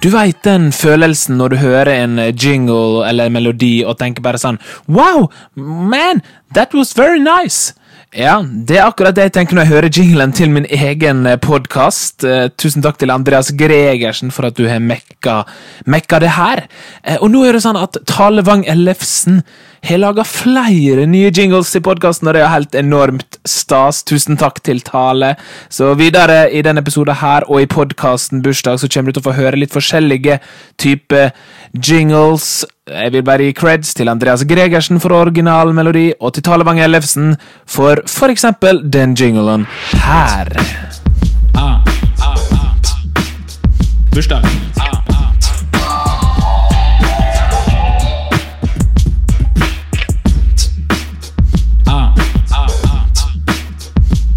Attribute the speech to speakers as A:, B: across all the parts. A: Du veit den følelsen når du hører en eh, jingle eller en melodi og tenker bare sånn Wow, man, that was very nice. Ja, det er akkurat det jeg tenker når jeg hører jinglen til min egen podkast. Tusen takk til Andreas Gregersen for at du har mekka, mekka det her. Eh, Og nå er det sånn at Talevang Ellefsen har laga flere nye jingles til podkasten, og det er helt enormt stas. Tusen takk til Tale. Så videre i denne episoden her og i podkasten Bursdag så kommer du til å få høre litt forskjellige typer jingles. Jeg vil bare gi creds til Andreas Gregersen for originalmelodi, og til Talevang Ellefsen for for eksempel den jinglen her.
B: Bursdag.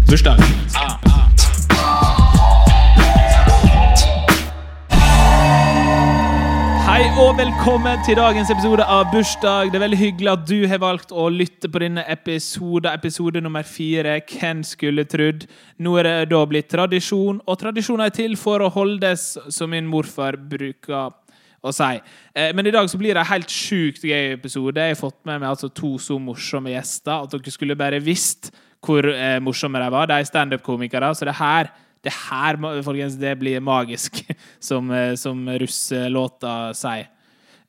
B: Bursdag.
C: Hei og velkommen til dagens episode av Bursdag. Det er veldig hyggelig at du har valgt å lytte på denne episoden, episode nummer fire. Hvem skulle trodd? Nå er det da blitt tradisjon, og tradisjoner er til for å holdes, som min morfar bruker å si. Eh, Men i dag så blir det en helt sjukt gøy episode. Jeg har fått med meg altså to så morsomme gjester at dere skulle bare visst hvor eh, morsomme de var. De er standup-komikere, så det her det her, folkens, det blir magisk, som, eh, som russelåta sier.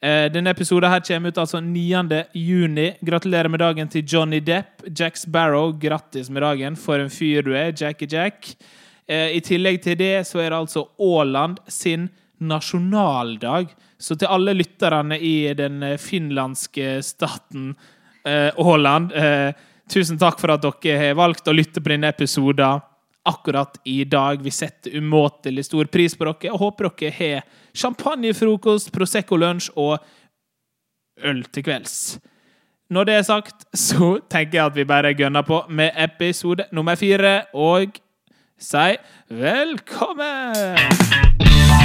C: Eh, Denne episoden her kommer ut altså 9. juni. Gratulerer med dagen til Johnny Depp. Jack Sparrow, grattis med dagen. For en fyr du er, Jackie Jack. Eh, I tillegg til det så er det altså Åland sin nasjonaldag. Så til alle lytterne i den eh, finlandske staten eh, Åland, eh, tusen takk for at dere har valgt å lytte på denne episoden akkurat i dag. Vi setter umåtelig stor pris på dere og håper dere har champagnefrokost, Prosecco-lunsj og øl til kvelds. Når det er sagt, så tenker jeg at vi bare gønner på med episode nummer fire, og si velkommen!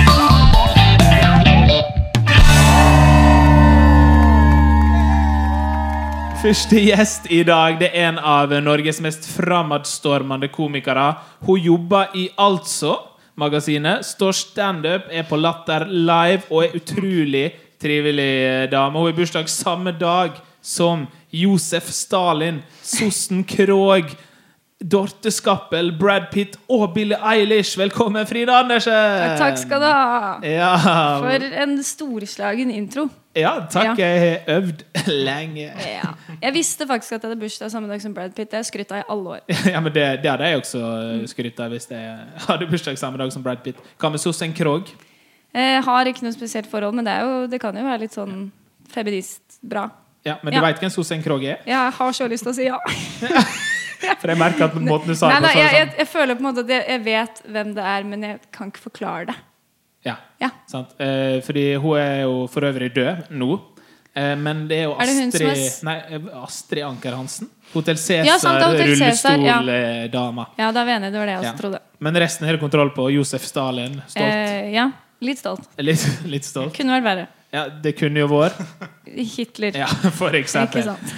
C: Første gjest i dag det er en av Norges mest framadstormende komikere. Hun jobber i Altså-magasinet, står standup, er på Latter live og er utrolig trivelig dame. Hun har bursdag samme dag som Josef Stalin, Sossen Krog, Dorte Skappel, Brad Pitt og Billie Eilish. Velkommen, Frida Andersen!
D: Takk skal du ha.
C: Eh, Ja,
D: For en storslagen intro.
C: ja takk.
D: Ja.
C: Jeg har øvd lenge.
D: Ja. Jeg visste faktisk at jeg hadde bursdag samme dag som Brad Pitt. Det har jeg skrytt av i alle år.
C: Ja, men det, det hadde jeg også
D: Mm.
C: skrytt av hvis jeg hadde bursdag samme dag som Brad Pitt. Hva med Sossen Krog?
D: Jeg Eh, har ikke noe spesielt forhold, men det, er jo, det kan jo være litt sånn feministbra.
C: Ja, men
D: Ja.
C: du veit hvem Sossen Krog er?
D: Jeg har så lyst til å si ja.
C: For jeg merker at på måten du sa det
D: Nei,
C: på,
D: nei,
C: så
D: jeg,
C: er
D: jeg,
C: det sånn.
D: jeg føler på en måte at jeg, jeg vet hvem det er, men jeg kan ikke forklare det.
C: Ja,
D: Ja.
C: sant. Eh, fordi hun er jo for øvrig død nå. Eh, men det er jo
D: Er det hun
C: Astrid
D: som er s-
C: Nei, eh, Astrid Anker Hansen. Hotell
D: Ja, sant, det
C: Cæsar,
D: er Hotel Cæsar, ja.
C: rullestoldama.
D: Ja, da er vi enige. Det var det jeg også
C: Ja.
D: trodde.
C: Men resten har du kontroll på. Josef Stalin. Stolt.
D: Eh, ja, litt stolt.
C: Litt, litt stolt.
D: Kunne vært verre.
C: Ja, det kunne jo vår.
D: Hitler.
C: Ja, for eksempel.
D: ikke sant?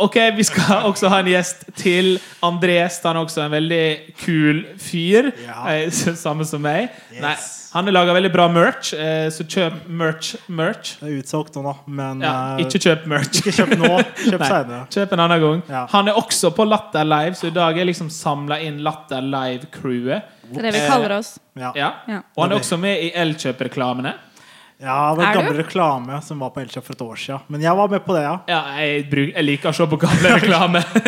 C: Ok, Vi skal også ha en gjest til. Andres han er også en veldig kul fyr.
B: Ja.
C: Eh, s- Samme som meg.
B: Yes.
C: Nei, han har laga veldig bra merch, eh, så kjøp merch. merch.
B: Det er utsolgt nå, da, men
C: Ja,
B: eh,
C: ikke kjøp merch.
B: ikke kjøp nå. Kjøp
C: Nei,
B: senere.
C: kjøp en annen gang.
B: Ja.
C: Han er også på Latter Live, så i dag er liksom samla inn Latter Live-crewet.
D: Det er det vi kaller oss.
B: Ja.
C: Ja.
D: Ja.
C: Og han er også med i Elkjøp-reklamene.
B: ja, det var
D: Er du?
B: gammel reklame som var på Elkjøp for et år siden. Men jeg var med på det, ja.
C: Ja, jeg, bruk, jeg liker å se på gamle reklamer.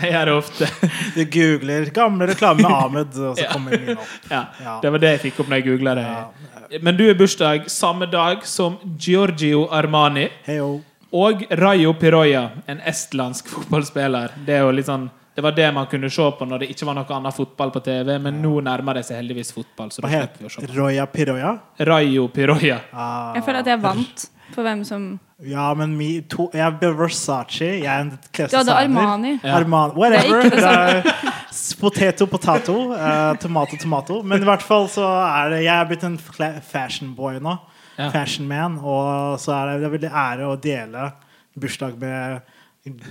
C: Jeg gjør det ofte.
B: Du googler gamle reklame med Ahmed, og så
C: Ja.
B: kommer min opp.
C: Ja,
B: Ja.
C: Det var det jeg fikk opp når jeg googla det. Men du er bursdag samme dag som Giorgio Armani
B: Heyo.
C: og Rayo Piroya, en estlandsk fotballspiller. Det er jo litt sånn det var det man kunne se på når det ikke var noe annet fotball på TV. Men nå nærmer det seg heldigvis fotball. Så
B: Hva
C: da slipper vi å se
B: heter Roya Piroya?
C: på. Rayo Piroya.
B: Ah,
D: Jeg føler at
C: Eh,
D: jeg vant på hvem som
B: ja, men mi, to, jeg er Versace. Jeg er en
D: Du hadde
B: klesdesigner.
D: Armani.
C: Ja.
B: Armani.
D: Det
B: Whatever.
D: er ikke det samme.
B: Det er s- potato, potato. eh, tomato, tomato. Men i hvert fall så er det Jeg er blitt en fla- fashion boy nå.
C: Ja.
B: Fashion man. Og så er det, det er veldig ære å dele bursdag med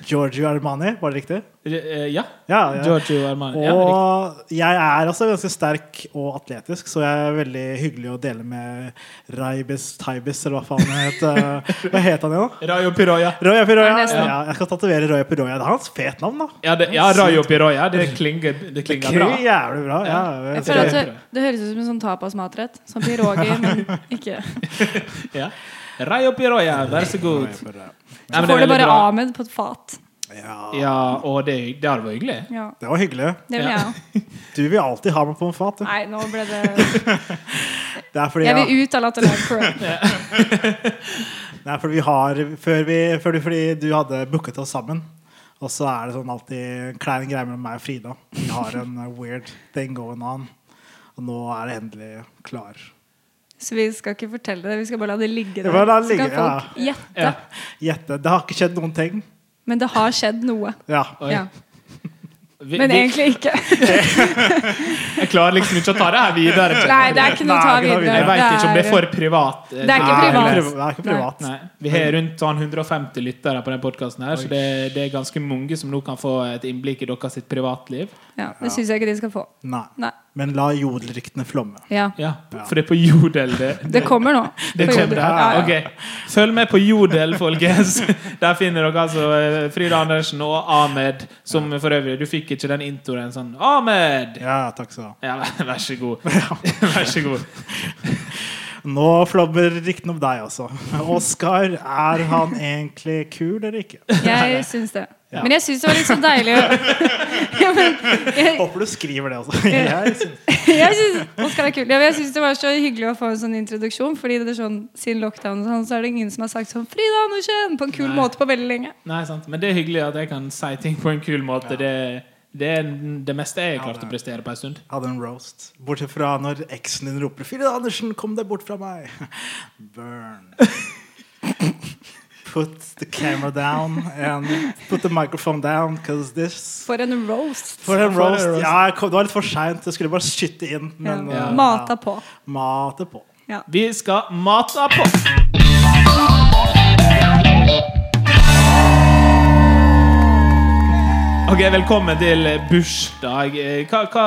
B: Giorgio Armani, var det riktig?
C: Eh, Ja.
B: Ja, ja.
C: Giorgio Armani. Ja, riktig.
B: Og jeg er også ganske sterk og atletisk, så jeg er veldig hyggelig å dele med Raibes Taibes, eller hva faen han het. eh, Hva het han igjen, da?
C: Rayo Piroya.
B: Roya Piroya.
D: Ja, nesten.
B: Ja, jeg skal tatovere Roya Piroya. Det er hans fet navn, da.
C: Ja, det, ja Rayo Piroya. Det klinger, det klinger
B: Kry,
C: bra.
B: jævlig bra. Ja,
D: Jeg
B: jeg
D: føler
B: vet
D: at
B: ikke.
D: det, det høres ut som en sånn tapasmatrett. Sånn piroger, men ikke.
C: Ja. Rayo Piroya, vær så god.
B: Roya Piroya.
C: Nei,
D: Så
C: men det er
D: får du
C: veldig
D: bare
C: bra.
D: Ahmed på et fat.
B: Ja,
C: Ja, og det, det hadde vært hyggelig.
D: Ja,
B: det var hyggelig.
D: det
C: Ja.
D: vil jeg òg.
B: Du vil alltid ha meg på en fat. du.
D: Nei, nå ble det
B: Det er fordi,
D: Jeg
B: ja,
D: vil ut av Latterland Pro.
B: det er fordi vi har før vi, før du, Fordi du hadde booket oss sammen. Og så er det sånn alltid en klein greie mellom meg og Frida. Vi har en eh, weird thing going on. Og nå er det endelig klar.
D: Så vi skal ikke fortelle det. Vi skal bare la det ligge
B: Vi
D: der.
B: bare la det
D: Så kan
B: ligge,
D: folk gjette.
C: Ja.
B: Gjette. Det har ikke skjedd noen ting.
D: Men det har skjedd noe.
B: Ja.
C: Oi.
D: Ja.
C: Vi,
D: Men
C: vi,
D: egentlig ikke.
C: jeg klarer liksom ikke å ta det her videre.
D: Nei, det er ikke noe å ta
B: Nei, ikke noe
D: videre.
C: Jeg veit ikke om det er for privat. eh,
D: Det er ikke
B: Nei,
D: privat.
B: Det er ikke privat.
C: Nei. Vi har rundt sånn 150 lyttere på den podkasten, så det, det er ganske mange som nå kan få et innblikk i deres sitt privatliv.
D: Ja, det syns jeg ikke de skal få.
B: Nei.
D: Nei.
B: Men la jodelryktene flomme.
D: Ja.
C: Ja, For det er på Jodel det,
D: Det kommer nå.
C: det
D: På
C: kommer.
D: jorda.
C: det her.
D: Ja, ja.
C: Ok. Følg med på Jodel, folkens. Der finner dere altså eh, Frida Andersen og Ahmed, som for øvrig Du fikk ikke den introen sånn Ahmed!
B: Ja, takk skal du ha.
C: Ja, vær så god. Vær så god.
B: Nå flommer ryktene om deg også. Oskar, er han egentlig kul eller ikke?
D: Jeg syns det.
B: Ja.
D: Men jeg syns det var litt så deilig å ja, men, jeg,
B: Håper du skriver det altså. også. Jeg synes-
D: jeg synes, Oskar er kul. Ja, men jeg syns det var så hyggelig å få en sånn introduksjon. Fordi det er sånn, Siden lockdown og sånn, så er det ingen som har sagt sånn 'Frida Andersen!' på en kul
C: Nei.
D: måte på veldig lenge.
C: Nei, sant. Men det er hyggelig at jeg kan si ting på en kul måte. Det, det er det meste jeg har klart å prestere på en stund.
B: Hadde en roast. Bortsett fra når eksen din roper 'Frida Andersen, kom deg bort fra meg'. Burn. Put the camera down and put the microphone down, because this
D: For en roast.
B: For
C: For
B: en
C: en
B: roast.
C: roast.
B: Ja, jeg kom, det var litt for seint. Jeg skulle bare skyte inn. Men
D: ja.
B: eh,
D: Mata på.
B: ja, mate på.
D: Ja.
C: Vi skal mata på! Ok, Velkommen til bursdag. Eh, Hva, hva,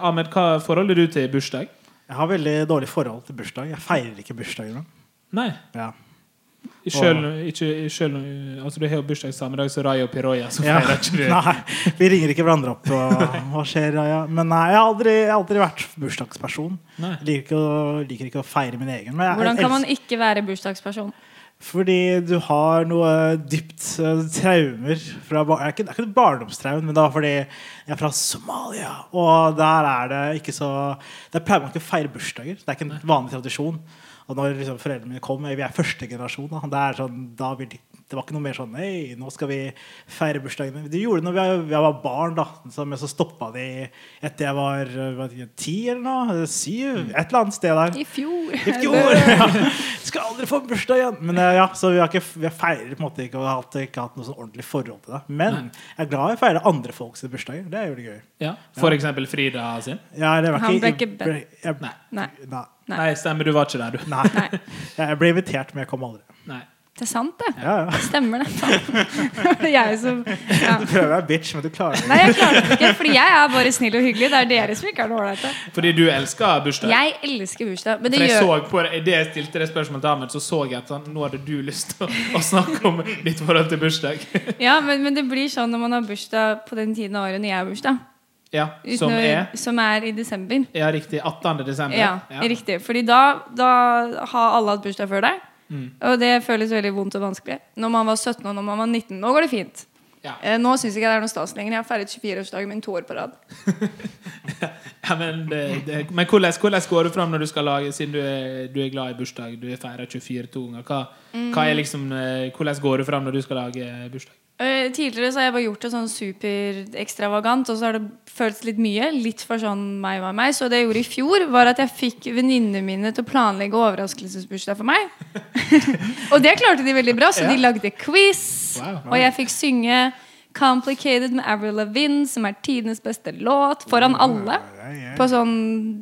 C: Ahmed, hva forholder du til bursdag?
B: Jeg har veldig dårlig forhold til bursdag. Jeg feirer ikke bursdager nå.
C: Nei.
B: Ja.
C: Selv, ikke, selv, altså, du har jo bursdag samme dag som Rayo Piroya, så
B: Ja.
C: feirer ikke du.
B: Nei, vi ringer ikke hverandre opp. Og, hva skjer, ja, ja. Men nei, jeg har aldri, jeg har aldri vært bursdagsperson.
C: Nei.
B: Liker ikke, å, liker ikke å feire min egen. Men jeg,
D: Hvordan kan man
B: elsker-
D: ikke være bursdagsperson?
B: Fordi du har noe dypt eh, traumer fra bar- Det er ikke, det er ikke et barndomstraume, men det var fordi jeg er fra Somalia. Og der er det ikke så Der pleier man ikke å feire bursdager. Det er ikke en vanlig tradisjon. Og når liksom foreldrene mine kom, vi er første generasjon, da, det, er sånn, da vil de, det var ikke noe mer sånn Hei, nå skal vi feire bursdagen din. De gjorde det når vi, vi var barn, da. Så, men så stoppa de etter jeg var eh, hva vet jeg, ti eller noe. eller Syv. Et eller annet sted der.
D: I fjor.
B: I fjor! Ja. Skal aldri få bursdag igjen! Men eh, ja, så vi har ikke, vi har feirer på en måte ikke og har hatt, ikke hatt noe sånn ordentlig forhold til det. Men jeg er glad i å feire andre folks bursdager. Det er jo det gøy.
C: Ja. For eksempel Frida sin.
B: Ja, det var
D: Han ble
B: jeg-
D: ikke bedt.
B: jeg-
C: Nei.
D: Nei.
B: Nei.
D: Nei.
C: Nei, stemmer, du var ikke der, du.
B: Nei.
D: Nei.
B: Jeg ble invitert, men jeg kom aldri.
C: Nei.
D: Det er sant, det.
B: Ja, ja.
D: Stemmer det. Faen. Det er jeg som ja.
B: Du prøver å være bitch, men du klarer det.
D: Nei, jeg klarte det ikke, fordi jeg er bare snill og hyggelig. Det er dere som ikke er noe ålreite.
C: Fordi du elsker bursdag.
D: Jeg elsker bursdag, men det
C: For jeg
D: gjør
C: så på det, det jeg stilte det spørsmålet til Ahmed, så så jeg at han, nå hadde du lyst til å, å snakke om ditt forhold til bursdag.
D: Ja, men, men det blir sånn når man har bursdag på den tiden av året når jeg har bursdag.
C: Ja,
D: Uten
C: Som
D: å-
C: er
D: som er i desember.
C: ja, riktig 18. desember.
D: Ja, riktig. Fordi da, da har alle hatt bursdag før deg.
C: Mm.
D: Og det føles veldig vondt og vanskelig. Når man var 17 og når man var 19. Nå går det fint.
C: Ja.
D: Eh, nå syns ikke jeg det er noe stas lenger. Jeg har feiret 24-årsdagen min to år på rad.
C: Ja, men det, det, men hvordan, hvordan går du fram når du skal lage, siden du er, du er glad i bursdag? Du er feirer 24 to ganger. Hva, hva
D: Mm.
C: er liksom, eh, hvordan går du fram når du skal lage bursdag?
D: Eh, tidligere så har jeg bare gjort det sånn superekstravagant, og så har det føltes litt mye. Litt for sånn meg var meg. Så det jeg gjorde i fjor, var at jeg fikk venninnene mine til å planlegge overraskelsesbursdag for meg. og det klarte de veldig bra, så de lagde quiz,
C: Wow.
D: og jeg fikk synge Complicated med Avril Lavigne, som er tidenes beste låt, foran alle. På sånn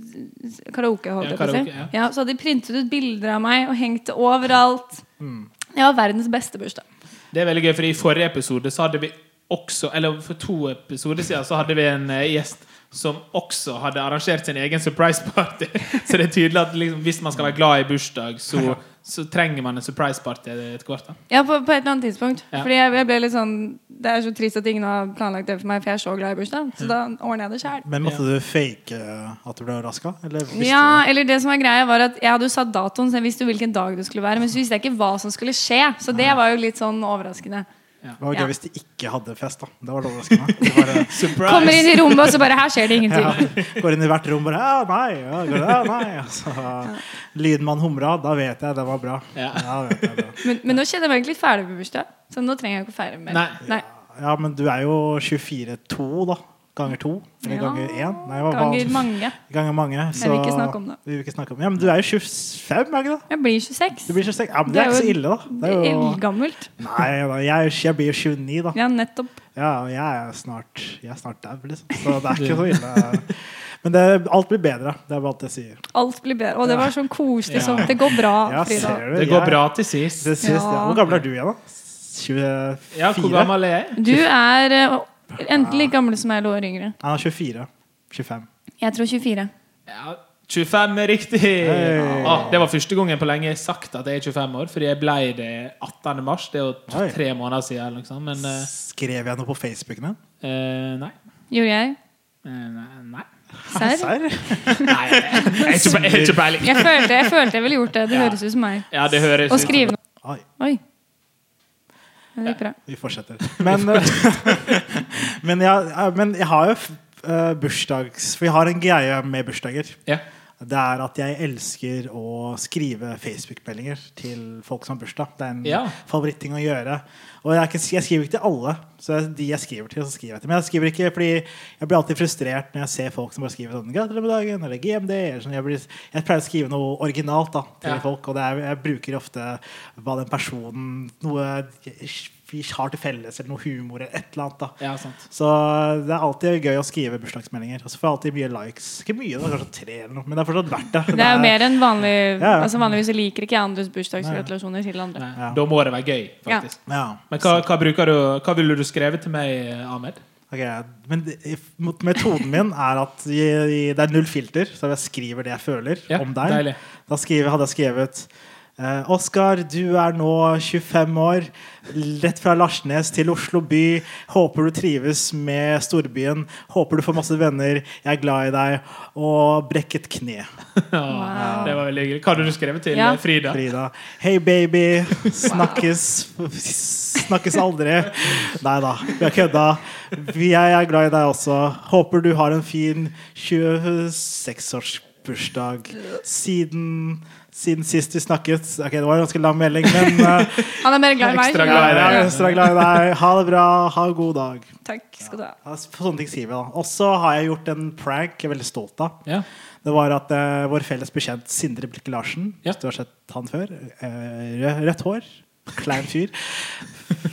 D: karaoke, holdt
C: Ja,
D: jeg på å si.
C: karaoke, ja.
D: Ja,
C: Mm.
D: så hadde de printet ut bilder av meg og hengt det overalt. Jeg var verdens beste bursdag.
C: Det er veldig gøy, for i forrige episode så hadde vi også Eller for to episoder siden så hadde vi en eh, gjest som også hadde arrangert sin egen surprise party. Så det er tydelig at liksom, hvis man skal være glad i bursdag, så, så trenger man en surprise party etter hvert. da
D: Ja, på, på et eller annet tidspunkt.
C: Ja.
D: Fordi jeg, jeg ble litt sånn Det er så trist at ingen har planlagt det for meg, for jeg er så glad i bursdag. Så da ordner jeg det sjæl.
B: Men måtte du fake eh, at du ble raska? Eller visste
D: Ja, eller det som var greia var at Jeg hadde jo satt datoen, så jeg visste jo hvilken dag det skulle være. Men så visste jeg ikke hva som skulle skje. Så det var jo litt sånn overraskende.
B: du? Det var gøy
D: Ja.
B: hvis de ikke hadde fest, da. Det var det overraskende. Det var, eh,
D: Kommer inn i rommet, og så bare Her skjer det ingenting.
B: ja, går inn i hvert rom bare Ja, nei, ja, går det, ja, nei. Altså, lyden man humra, da vet jeg det var bra.
C: Ja.
B: Ja, vet jeg, det.
D: Men, men nå kjenner jeg meg egentlig litt ferdig med bursdag. Så nå trenger jeg ikke å feire mer.
C: Nei.
B: ja, men du er jo 24-2, da. Ganger to. Eller
D: Ja.
B: ganger én. Nei, hva- hva-
D: Ganger mange.
B: ganger mange. Så
D: vil ikke snakke om det.
B: Vi vil ikke snakke om det. Ja, men du er jo 25, er ikke det?
D: Jeg blir
B: Du
D: 26.
B: blir 26. Ja, men det er ikke så ille, da. Det er jo,
D: eldgammelt.
B: nei, da, jeg, er- jeg blir jo 29, da.
D: Ja, nettopp.
B: Ja, og jeg er snart Jeg er snart dau, liksom. Så det er ikke så ille. Men det, alt blir bedre. Det er bare alt jeg sier.
D: Alt blir bedre. Og det var sånn koselig
C: Ja.
D: sånn. Det går bra,
B: Ja,
D: Frida.
B: ser du?
C: Det går
B: Jeg-
C: bra til sist.
B: Det syns jeg.
D: Ja.
B: Hvor gammel er du igjen, da? 24?
C: Ja, hvor gammel er jeg?
D: Du er eh, enten like gammel som meg eller år yngre.
B: Han er 24. 25.
D: Jeg tror 24.
C: Ja, 25 er riktig!
B: Hei.
C: Ah, det var første gangen på lenge jeg har sagt at jeg er 25 år, fordi jeg ble det 18. mars. Det er jo
B: Oi.
C: t- tre måneder siden. eller noe sånt, Men eh,
B: Skrev jeg noe på Facebooken din?
C: eh, nei.
D: Gjorde jeg?
C: Eh, nei.
D: Serr?
B: Serr?
C: nei. Jeg er ikke pe- jeg har ikke peiling.
D: Jeg følte jeg, følte jeg ville gjort det. Det høres ut som meg.
C: Ja, det høres
D: Å skrive noe
B: Oi,
D: Oi. Det gikk bra.
B: vi fortsetter. Men, eh, men, jeg, eh, men jeg har jo eh, bursdags... For jeg har en greie med bursdager.
C: Ja.
B: Det er at jeg elsker å skrive Facebook-meldinger til folk som har bursdag. Det er en
C: Ja.
B: favoritting å gjøre. Og jeg, er ikke, jeg skriver ikke til alle. Så jeg- de jeg skriver til, så skriver jeg til. Men jeg skriver ikke fordi jeg blir alltid frustrert når jeg ser folk som bare skriver sånn 'Gratulerer med dagen' eller 'GMD'. Eller sånn. jeg, blir, jeg pleier å skrive noe originalt da, til
C: Ja.
B: folk, og det er, jeg bruker ofte hva den personen Noe vi har til felles, eller noe humor eller et eller annet. da
C: ja, sant.
B: så det er alltid gøy å skrive bursdagsmeldinger. Og så får jeg alltid mye likes. Ikke mye, da, kanskje tre eller noe, men det er fortsatt verdt det.
D: Det er jo mer enn vanlig
B: Ja, ja.
D: Altså Vanligvis så liker ikke jeg andres bursdagsgratulasjoner til andre.
C: Nei. Da må det være gøy, faktisk.
B: Ja,
C: Men hva, hva, bruker du, hva ville du skrevet til meg, Ahmed?
B: ok. Men det- mot- metoden min er at jeg, jeg- det er null filter, så jeg skriver det jeg føler
C: Ja,
B: om deg.
C: deilig.
B: Da skriver, hadde jeg skrevet eh, Oskar, du er nå 25 år. Rett fra Larsnes til Oslo by. Håper du trives med storbyen. Håper du får masse venner. Jeg er glad i deg. Og brekk et kne.
C: Åh, Det var veldig hyggelig. Hva hadde du skrevet til
D: Ja.
C: eh, Frida?
B: Frida. Hei, baby. Snakkes Snakkes aldri. Nei da, vi har kødda. Vi- Jeg er glad i deg også. Håper du har en fin 26-årsbursdag. Siden, siden sist vi snakket Ok, det var en ganske lang melding, men eh,
D: Han er mer glad i meg.
C: Ekstra glad i
D: skjønner du.
C: deg.
B: jeg er ekstra glad i deg. Ha det bra. Ha en god dag.
D: Takk skal du ha.
B: Ja, Sånne ting sier vi, da. Og så har jeg gjort en prank jeg er veldig stolt av.
C: Ja.
B: Det var at eh, vår felles bekjent Sindre Blikke Larsen
C: Ja.
B: Hvis du har sett han før. eh, rød, rødt hår. Klein fyr.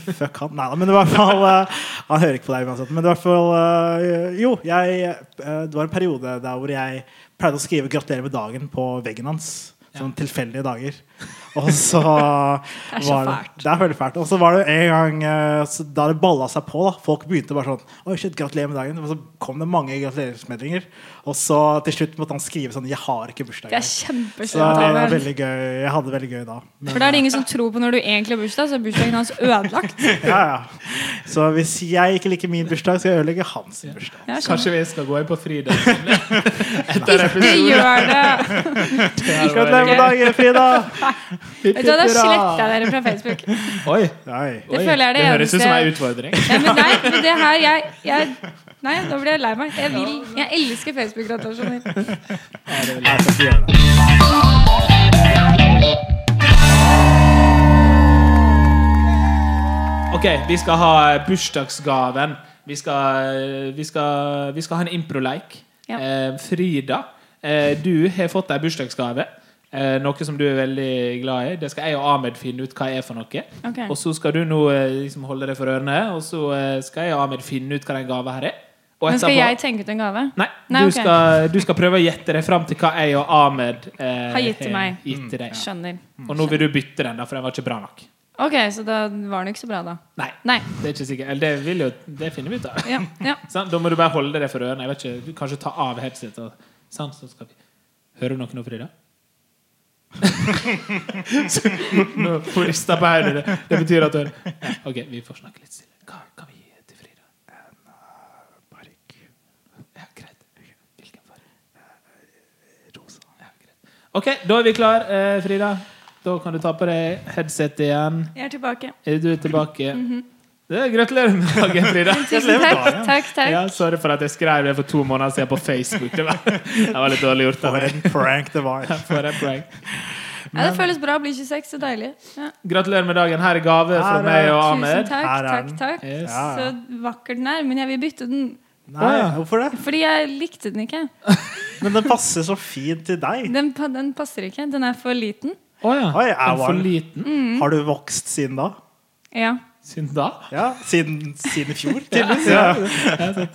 B: Fuck han. Nei da, men i hvert fall eh, Han hører ikke på deg uansett. Men i hvert fall eh, Jo, jeg, eh, det var en periode der hvor jeg pleide å skrive 'Gratulerer med dagen' på veggen hans. Sånn tilfeldige dager. Og så
D: Det er så
B: var
D: fælt.
B: det er veldig fælt. Og så var det en gang eh, så da det balla seg på, da. Folk begynte bare sånn Oi, shit, gratulerer med dagen. Og så kom det mange gratuleringsmeldinger. Og så til slutt måtte han skrive sånn Jeg har ikke bursdag.
D: Det er
B: i dag». Så
D: kjempeslutt.
B: det var
D: Albert.
B: veldig gøy. Jeg hadde det veldig gøy da. Men,
D: For da er det ingen som tror på når du egentlig har bursdag, så er bursdagen hans ødelagt.
B: ja, ja. Så hvis jeg ikke liker min bursdag, skal jeg ødelegge hans bursdag.
D: Jeg skjønner.
C: Kanskje vi skal gå inn på Frida? Etter
D: sånn. Ikke
C: episoden.
D: gjør det!
C: Det her var veldig
B: Gratulerer med
C: gøy.
B: dagen, Frida!
D: Vet du hva, Da sletter jeg dere fra Facebook.
C: Oi,
B: Nei.
D: Det
C: oi.
D: føler jeg er det
C: det høres ut som en
D: eneste-
C: utfordring.
D: Ja, men nei, men det her jeg, jeg Nei, nå blir jeg lei meg. Jeg, vil, jeg elsker Facebook-gratulasjoner.
B: Nei, jeg skal ikke gjøre det.
C: Ok, vi skal ha eh, bursdagsgaven. Vi skal, eh, vi skal, vi skal ha en improleik.
D: Ja.
C: Eh, Frida, eh, du har fått deg bursdagsgave. Eh, noe som du er veldig glad i. Det skal jeg og Ahmed finne ut hva er for noe.
D: Ok.
C: Og så skal du nå eh, liksom holde deg for ørene, og så eh, skal jeg og Ahmed finne ut hva den gava her er. Og
D: Men skal
C: etterpå-
D: jeg tenke ut en gave?
C: Nei,
D: Nei,
C: du,
D: ok.
C: skal, du skal prøve å gjette deg fram til hva jeg og Ahmed eh,
D: Har gitt til meg. Mm,
C: gitt til deg.
D: Skjønner.
C: Og nå vil du bytte den, da, for den var ikke bra nok.
D: Ok, så da var den ikke så bra, da.
C: Nei,
D: Nei.
C: det er ikke sikkert. Eller det, vil jo, det finner vi ut av.
D: Ja, ja.
C: Sant? Da må du bare holde det for ørene. Jeg vet ikke, du Kanskje ta av headsetet. og- Sant, så skal vi Hører du noe nå, Frida? Så, nå får rista på hodet. Det Det betyr at du hører Ja, OK, vi får snakke litt stille. Hva kan vi gi til Frida? En Ja, greit. Hvilken farge? Rosa. Ja, greit. OK, da er vi klar, eh, Frida. Da kan du ta på deg headsetet igjen.
D: Jeg er tilbake.
C: Er du tilbake? Det- Gratulerer med dagen, Frida.
D: Tusen takk. Takk, takk.
C: Ja, sorry for at jeg skrev det for to måneder siden på Facebook. Det var, det var litt dårlig gjort. av
B: For
C: meg.
B: en prank det var.
C: For en prank.
D: Ja, det føles bra å bli 26. Så deilig. Ja.
C: Gratulerer med dagen. Her er gave fra
B: Her er-
C: meg og
D: Tusen
C: Ahmed.
D: takk.
B: Her er
D: Takk,
B: den.
D: takk.
C: Yes.
B: Ja,
D: Så
B: ja.
D: vakker den er. Men jeg vil bytte den.
B: Nei,
C: Å, ja.
B: hvorfor det?
D: Fordi jeg likte den ikke.
B: Men den passer så fint til deg.
D: Den, pa- den passer ikke. Den er for liten.
C: Å ja.
B: Oi, jeg
C: Den
B: var-
C: for liten
B: Har du vokst siden da?
D: Ja.
C: siden da?
B: Ja, siden, siden i fjor, tydeligvis.
C: Ja.
B: Ja.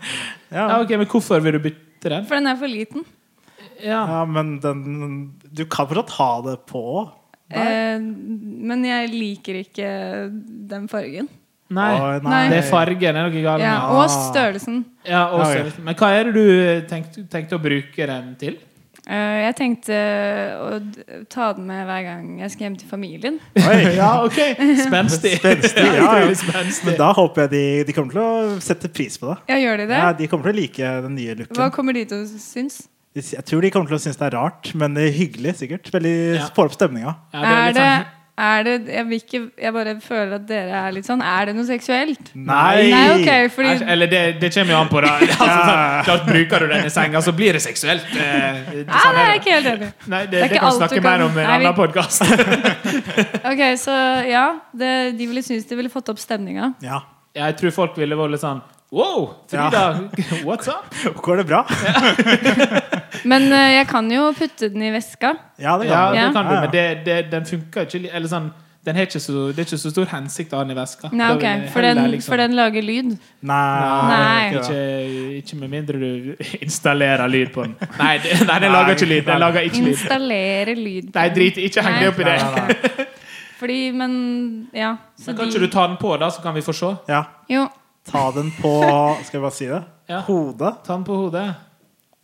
C: Ja,
B: Ja.
C: ok, Men hvorfor vil du bytte den?
D: For den er for liten.
C: Ja.
B: ja, men den Du kan fortsatt ha det på.
D: Eh, men jeg liker ikke den fargen.
C: Nei.
B: Å,
D: Nei.
C: Det er fargen er noe galt
D: Ja,
C: med.
D: og størrelsen.
C: Ja, og
B: Ja, ok.
C: størrelsen. Men hva er det du tenkte, tenkte å bruke den til?
D: Eh, jeg tenkte eh, å d- ta den med hver gang jeg skal hjem til familien.
B: Oi.
C: Ja, OK! Spenstig.
B: Spenstig,
C: Ja,
B: ja, ja.
C: utrolig spenstig.
B: Men da håper jeg de, de kommer til å sette pris på det.
D: Ja, gjør de det?
B: Ja, de kommer til å like den nye
D: Hva
B: looken.
D: kommer de til å synes?
B: De- Jeg tror de kommer til å synes det er rart, men det er hyggelig sikkert. Veldig
C: Ja.
B: Får opp stemninga.
C: Ja,
D: Er
C: litt
D: det,
C: sånn-
D: er det jeg, vil ikke, jeg bare føler at dere er litt sånn Er det noe seksuelt?
B: Nei!
D: Nei, ok, fordi
C: Eller det, det kommer jo an på, da. Altså, sånn, klart Bruker du den i senga, så blir det seksuelt. Eh, det- sånn
D: Ah, Nei, det er
C: er
D: jeg
C: det.
D: ikke helt enig.
C: Nei, det,
D: er
C: det
D: ikke
C: kan vi
D: alt du
C: snakke mer
D: kan-
C: om i en
D: Nei, vi-
C: annen podkast.
D: Ok, så ja. Det, de ville synes de ville fått opp stemninga.
B: Ja.
C: Jeg tror folk ville vært litt sånn Wow, Frida, what's up?
B: Går det bra?
D: Men eh, jeg kan jo putte den i veska.
B: Ja, det
C: Ja,
B: kan det.
D: Ja.
C: det kan du,
B: Ja, ja.
C: men det, det, den funker ikke li- Eller sånn den har ikke så, Det er ikke så stor hensikt å ha den i veska.
D: Nei,
C: Da
D: ok,
C: vil jeg
D: For
C: heller
D: den,
C: liksom-
D: for den lager lyd.
B: Nei.
D: Nei.
B: det er ikke det.
C: ikke, ikke med mindre du installerer lyd på den. Nei, det, nei den lager ikke lyd. Den lager ikke lyd.
D: Installere lyd. på
C: Nei,
D: den.
C: drit i. Ikke heng deg opp i
B: Nei,
C: det.
B: nei, nei.
D: Fordi, men Ja. Så
C: Men kan
D: de
C: ikke du ta den på, da, så kan vi få se?
B: Ja.
D: Jo,
B: Ta den på Skal jeg bare si det?
C: Ja.
B: Hodet.
C: Ta den på hodet.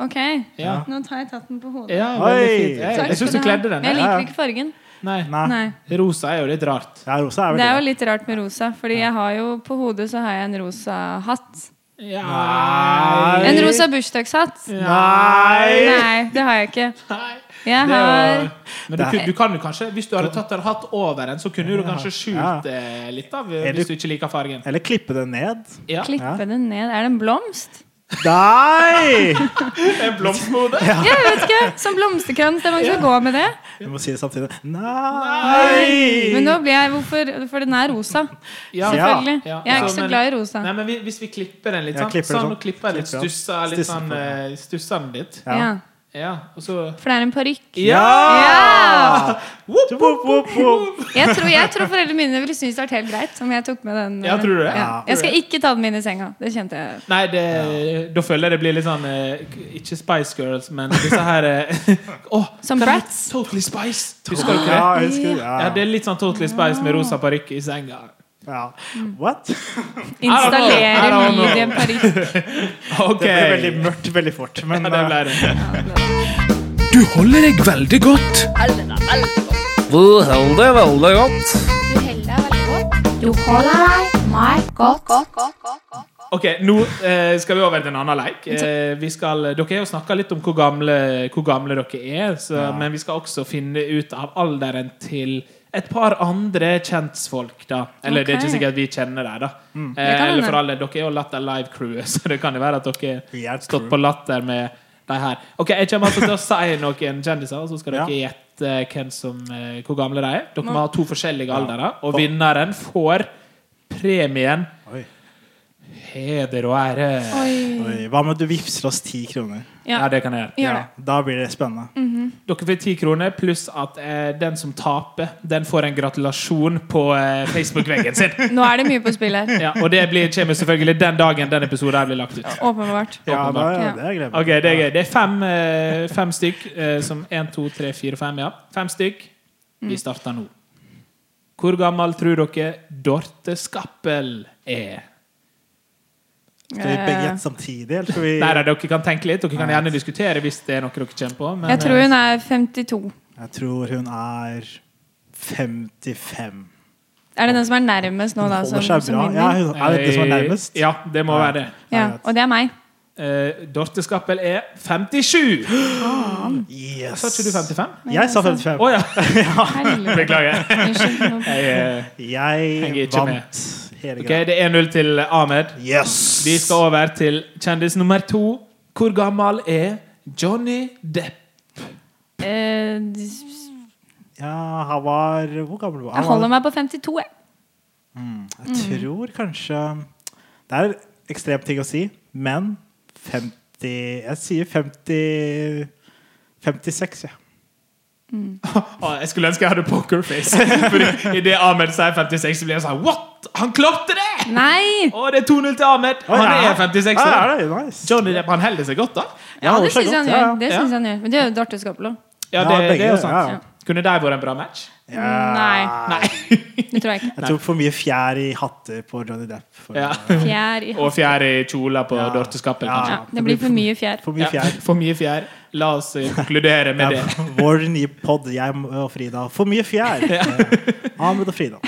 D: OK.
C: Ja.
D: Nå tar jeg tatt den på hodet.
C: Ja,
B: Oi!
C: veldig fint. Jeg,
D: Takk
C: jeg syns du
D: skal ha.
C: kledde den.
D: Men Jeg
B: Ja, ja.
D: liker ikke fargen.
C: Nei.
B: Nei.
D: Nei.
C: Rosa er jo litt rart.
B: Ja, rosa er
D: Det er jo
B: vel det.
D: litt rart med rosa, Fordi jeg har jo på hodet så har jeg en rosa hatt.
C: Ja.
B: Nei.
D: En rosa bursdagshatt.
B: Nei!
D: Nei, det har jeg ikke.
C: Nei.
D: Jeg
C: Det
D: har
C: var, men du, kun- du kan jo kanskje Hvis du hadde tatt en hatt over en, så kunne du kanskje
B: Ja.
C: skjult eh, litt av
B: du-
C: hvis du ikke liker fargen.
B: Eller klippe det ned.
C: Ja.
D: klippe den ned. Er det en blomst?
B: Nei!
C: En blomst på hodet?
D: Ja, jeg vet ikke. Som blomsterkrans. Det er mange som går med det.
B: Vi må si det samtidig. Nei!
D: Men nå blir jeg Hvorfor? For den er rosa.
C: Ja.
D: Selvfølgelig.
C: Ja.
D: Jeg er
C: Så,
D: ikke så
C: men-
D: glad i rosa.
C: Nei, men vi- Hvis vi klipper den litt,
B: Ja,
C: sånn,
B: klipper det
C: sånn,
B: sånn.
C: og klipper den litt,
B: Klipper den.
C: stusser litt
B: Stusser
C: sånn
B: på den,
C: eh, Stusser den litt.
B: Ja.
D: Ja.
C: Ja, og så
D: For det er en parykk.
B: Ja!
D: Ja!
B: Whoop, whoop, whoop, whoop.
D: Jeg tror, jeg tror foreldrene mine ville synes det var helt greit om jeg tok med den.
C: Ja, tror du det?
D: Ja. Jeg skal ikke ta den med inn i senga. Det kjente jeg.
C: Nei, det, da føler jeg det blir litt sånn eh, Ikke Spice Girls, men disse her eh, Åh,
D: Som
C: den het
D: Bratz.
C: Totally Spice. Husker du ikke det?
B: Ja, jeg husker det.
C: Ja,
B: Ja.
C: det er litt sånn Totally Spice med rosa parykk i senga.
B: Ja. What?
C: I
D: Installere
C: don't know.
D: lyd i en parykk.
C: OK.
B: Det ble veldig mørkt veldig fort. Men
C: Ja, det ble det.
A: Du holder deg veldig godt. Du holder deg veldig godt.
E: Du holder deg meget godt.
C: OK, nå eh, skal vi over til en annen leik. Eh, vi skal, dere har jo snakka litt om hvor gamle, hvor gamle dere er, så, men vi skal også finne ut av alderen til et par andre kjentfolk, da. Eller det er
D: Ok. Mm.
C: ikke sikkert vi kjenner dem, da. Eh,
D: Det kan
C: eller
D: hende.
C: for alle, dere er jo Latter Live-crewet, så det kan jo være at dere
B: Vi er et
C: stått
B: crew.
C: på latter med de her. OK, jeg kommer altså til å si noen kjendiser, og så skal dere gjette hvem som, eh, hvor gamle de er. Dere må ha to forskjellige aldere, og vinneren får premien
B: Oi.
C: Heder og ære.
B: eh, Oi. Hva med at du vipser oss ti kroner?
C: Ja.
D: Ja.
C: det kan jeg gjøre.
D: Gjør det. Mm.
B: Da blir det spennende.
C: Dere får ti kroner, pluss at eh, den som taper, den får en gratulasjon på eh, Facebook-veggen sin.
D: Nå er det mye på spill her.
C: Ja, og det blir, kommer selvfølgelig den dagen den episoden her blir lagt ut.
D: Åpenbart.
B: Ja, da,
C: åpenbart.
D: Ja.
B: det er greit.
C: Ok, Det er gøy. Det er fem, eh, fem
D: Mm.
C: stykk eh, som én, to, tre, fire, fem. Ja. Fem stykk. Vi starter nå. Hvor gammel tror dere Dorte Skappel er?
B: Skal vi begge gjette samtidig? Eller skal vi
C: Der er dere kan tenke litt. Dere kan gjerne diskutere hvis det er noe dere kommer på. Men
D: Eh,
C: eh,
D: Jeg tror hun er 52.
B: Jeg tror hun er 55.
D: Er det den som er nærmest nå, da? Som,
B: Holder seg
D: Altså, som
B: bra. Ja,
D: vinner?
B: hun er det som er nærmest.
C: Ja, det må være det.
D: Ja, og det er meg.
C: Eh, Dorte Skappel er 57!
B: Yes.
C: Sa ikke du 55?
B: Jeg sa 55.
C: Å ja!
D: Herlig.
C: Beklager.
D: Unnskyld. nå-
C: Jeg, eh, henger
B: Jeg
C: ikke
B: vant hele
C: Ok,
B: greia.
C: Det er 1-0 til Ahmed.
B: Yes!
C: Vi skal over til kjendis nummer to. Hvor gammel er Johnny Depp?
D: Eh, d-
B: Ja, han var Hvor gammel var
D: Jeg
B: han?
D: holder Mm. meg på 52, jeg.
B: Jeg tror kanskje Det er ekstremt ting å si, men 50 Jeg sier 50 56, ja.
C: Å, jeg skulle ønske jeg hadde pokerface. Fordi Idet Ahmed sier 56, så blir jeg sånn What?! Han klarte det!
D: Nei!
C: Å, det er 2-0 til Ahmed. Han
B: ja.
C: er 56
B: Ja,
C: år.
B: ja, det er nice.
C: Johnny Depp, han holder seg godt, da.
D: Ja,
B: holder
D: det
B: seg
D: syns
B: godt,
D: han
B: ja,
D: gjør.
B: ja.
D: Det
C: Ja.
D: synes han gjør. Men det er jo Dorte Skapelow.
C: Ja,
B: Ja,
C: det,
B: begge,
C: det er jo sant.
B: ja.
C: Kunne det vært en bra match?
D: Nei,
C: Nei.
D: det tror jeg ikke.
B: Jeg tok for mye fjær i hatter på Johnny Depp. For,
C: Ja.
D: Fjær i
C: Og fjær i kjola på Dorte Skappel,
B: Ja.
C: kanskje.
D: ja, Det blir for mye fjær.
B: for mye
C: Ja,
B: fjær.
C: for mye fjær. La oss eh, konkludere med det.
B: Ja, vår nye pod, jeg og Frida. For mye fjær! Eh, Ahmed og Frida.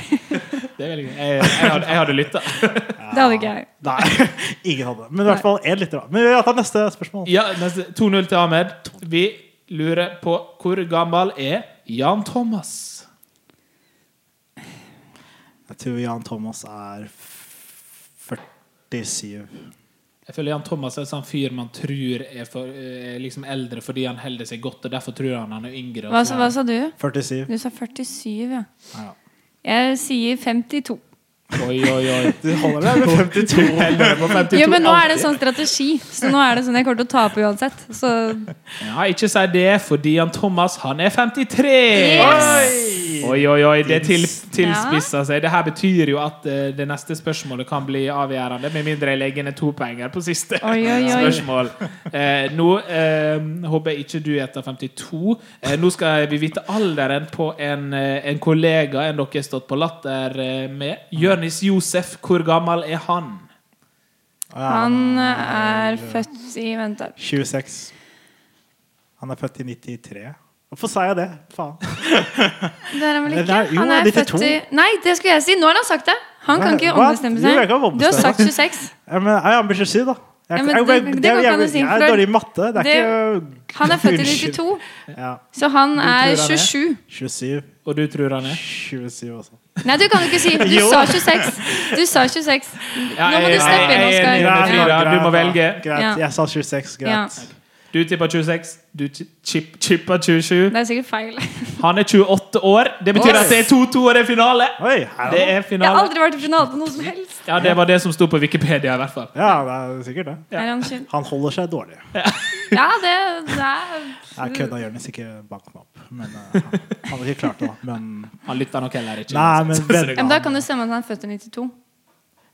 C: det er veldig gøy. Jeg, jeg hadde, jeg hadde lytta.
D: Det hadde ikke jeg.
B: Nei, ingen hadde. Men i hvert fall én lytter. da. Men vi tar neste spørsmål.
C: Ja, neste- 2-0 til Ahmed. Vi lurer på hvor gammel er Jan Thomas?
B: Jeg tror Jan Thomas er f- 47.
C: Jeg føler Jan Thomas er en sånn fyr man tror er, for, er liksom eldre fordi han holder seg godt, og derfor tror han han er yngre.
D: Hva, sa- hva sa du?
B: 47.
D: Du sa 47, ja.
B: Ja.
D: Jeg sier 52.
C: Oi, oi, oi.
B: Du holder deg med 52.
C: Du holder deg på 52
D: Jo, men nå er det
C: alltid.
D: sånn strategi. Så nå er det sånn jeg kommer til å tape uansett. Så
C: Ja, ikke si det, fordi Jan Thomas, han er 53! Oi, oi, oi, det til, tilspisser seg. Dette betyr jo at eh, det neste spørsmålet kan bli avgjørende, med mindre jeg legger ned to poenger på siste
D: oi, oi, oi.
C: spørsmål. Eh, nå eh, håper jeg ikke du gjetter 52. Eh, nå skal vi vite alderen på en, eh, en kollega enn dere har stått på latter eh, med. Jørnis Josef, hvor gammel er han?
D: Han er født i Vent da.
B: 26. Han er født i 93. Hvorfor sa jeg det? Faen.
D: Det er han vel ikke?
B: Nei, jo,
D: Han er
B: 92.
D: født i Nei, det skulle jeg si! Nå har han sagt det! Han kan
B: Nei,
D: ikke
B: hva?
D: ombestemme
B: Jo, jeg
D: seg.
B: kan ombestemme.
D: Du har sagt 26.
B: Ja, men jeg er ambisiøs, da.
D: Ja,
B: Jeg,
D: men
B: jeg,
D: det-
B: jeg,
D: det
B: jeg,
D: går ikke an å
B: jeg,
D: si,
B: jeg er
D: for-
B: dårlig i matte. Det er ikke
D: Han er født i
B: Unnskyld.
D: 92,
B: ja,
D: så han
C: han
D: er
C: er?
D: 27.
B: 27.
C: Og du tror han er?
B: 27 også.
D: Nei, du kan jo ikke si Du
B: Jo.
D: sa 26! Du sa 26.
C: Ja,
D: Nå må
C: jeg-
D: du steppe
C: jeg-
D: inn,
C: jeg er enig med
D: Oskar.
C: Frida. du må
B: da.
C: velge.
B: Greit.
D: Ja.
B: Jeg sa 26.
D: Ja.
B: Greit.
C: Du tippa 26, du chi- chip, chippa 27.
D: Det er sikkert feil. Jeg
C: Han er 28 år. Det betyr
B: Oi.
C: at det er 2-2, og det er finale.
B: Oi, her
C: Det
B: er han.
C: er
D: har
C: finale.
D: aldri vært i finale på noe som helst.
C: Ja, det var det som sto på Wikipedia, i hvert fall.
B: Ja, det er sikkert det.
D: Er han skjønn?
B: Han holder seg dårlig.
D: Ja, det, det er
B: Jeg kødda Jonis, ikke bank meg opp. Men eh, han hadde ikke klart det, da. Men,
C: Han lytta nok heller ikke.
B: nei, men
D: ja, men
B: venner
D: Da kan du stemme at han er født i 92.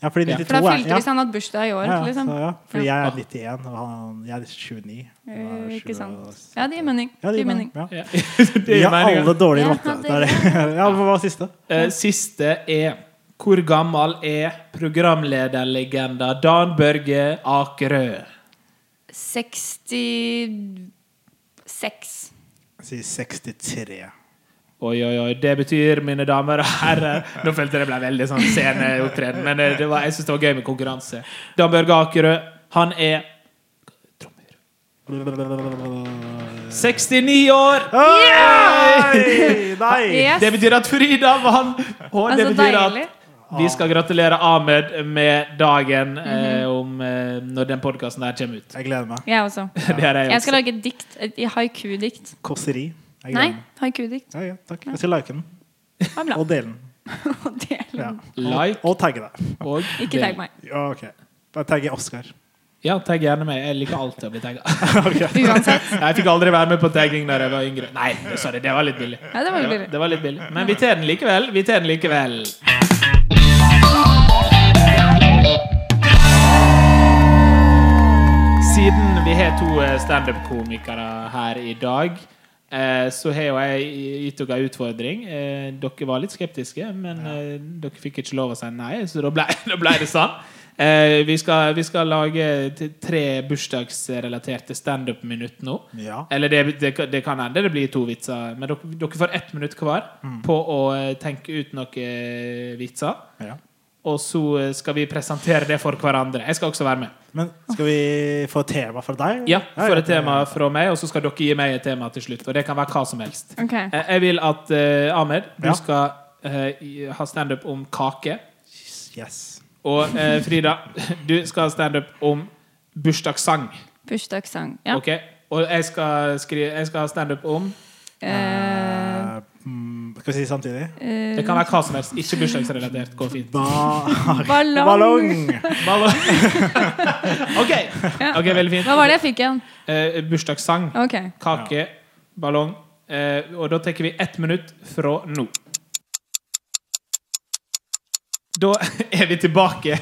B: Ja, fordi
C: Ja.
B: 92
D: For da
B: er-
D: fylte hvis han hadde bursdag i år.
B: ja,
D: liksom.
B: så, ja. Fordi jeg er 91, og han, jeg er 29. og han er
D: Eh, Ikke
B: 20.
D: sant. Ja, det gir mening.
B: Ja, det
D: Det
B: gir
D: gir mening.
B: mening. Ja.
C: Ja.
B: Vi
C: det er
B: er alle
C: meningen.
B: dårlige i
D: Ja, det-
B: matte. Det er det. Ja, hva var siste?
C: Eh, Siste er Hvor gammel er programlederlegenda Dan Børge Akerø?
D: 66.
B: Jeg sier 63.
C: Oi, oi, oi. Det betyr, mine damer og herrer Nå følte jeg det ble veldig sånn sceneopptreden, men eh, det, det var, jeg syns det var gøy med konkurranse. Dan Børge Akerø, han er Trommer. 69 år!
B: Oi! Nei!
D: Yes.
C: Det betyr at Frida vant, og det
D: Altså,
C: betyr
D: deilig.
C: at vi skal gratulere Ahmed med dagen eh, om, eh, når den podkasten der kommer ut.
B: Jeg gleder meg.
D: Jeg også.
C: Det er jeg
D: Jeg skal
C: også.
D: lage et dikt. Et haiku-dikt.
B: Kåseri. Jeg gleder
D: Nei,
B: meg.
D: haiku-dikt.
B: Ja, ja, takk. Jeg skal like den.
D: Det var bra.
B: Og dele den.
D: Det er
B: Ja.
D: lov.
C: Like
B: Og tagge deg.
C: og
D: Ikke
C: del.
D: tagg meg.
B: Ja, ok. Da tagger jeg Oskar.
C: Ja, tagg gjerne meg. Jeg liker alltid å bli tagga.
D: Uansett.
C: Jeg fikk aldri være med på tagging da jeg var yngre. Nei, sorry, det var litt billig.
D: Ja, det var litt billig.
C: Det var litt billig. Men vi tar den likevel. Vi tar den likevel. Siden vi har to eh, standup-komikere her i dag, Eh, så har jo jeg gitt dere en utfordring. Eh, dere var litt skeptiske, men eh, dere fikk ikke lov å si nei, så da ble, da ble det sånn. Eh, vi, skal, vi skal lage t- tre bursdagsrelaterte standup-minutt nå.
B: Ja.
C: Eller det, det, kan- det kan hende det blir to vitser, men dere, dere får ett minutt hver på å eh, tenke ut noen eh, vitser.
B: ja.
C: Og så eh, skal vi presentere det for hverandre. Jeg skal også være med.
B: Men skal vi få et tema fra deg?
C: Ja, For et
B: ja.
C: tema fra meg, og så skal dere gi meg et tema til slutt. Og det kan være hva som helst.
D: Ok.
C: Eh, Jeg vil at eh, Ahmed, du
B: Ja.
C: skal eh, i- ha standup om kake.
B: Yes.
C: Og eh, Frida, du skal ha standup om bursdagssang.
D: Bursdagssang. Ja.
C: Ok? Og jeg skal, skrive, jeg skal ha standup om
D: Eh,
B: Eh, mm, skal vi si samtidig?
D: eh,
C: Det kan være hva som helst. Ikke bursdagsrelatert. Går fint.
B: Ba
D: ballong.
B: ballong!
C: Ball- OK. ok, Veldig fint.
D: Hva var det jeg fikk igjen?
C: Eh, bursdagssang.
D: Ok.
C: Kake, ballong. Eh, og da tar vi ett minutt fra nå. Da er vi tilbake.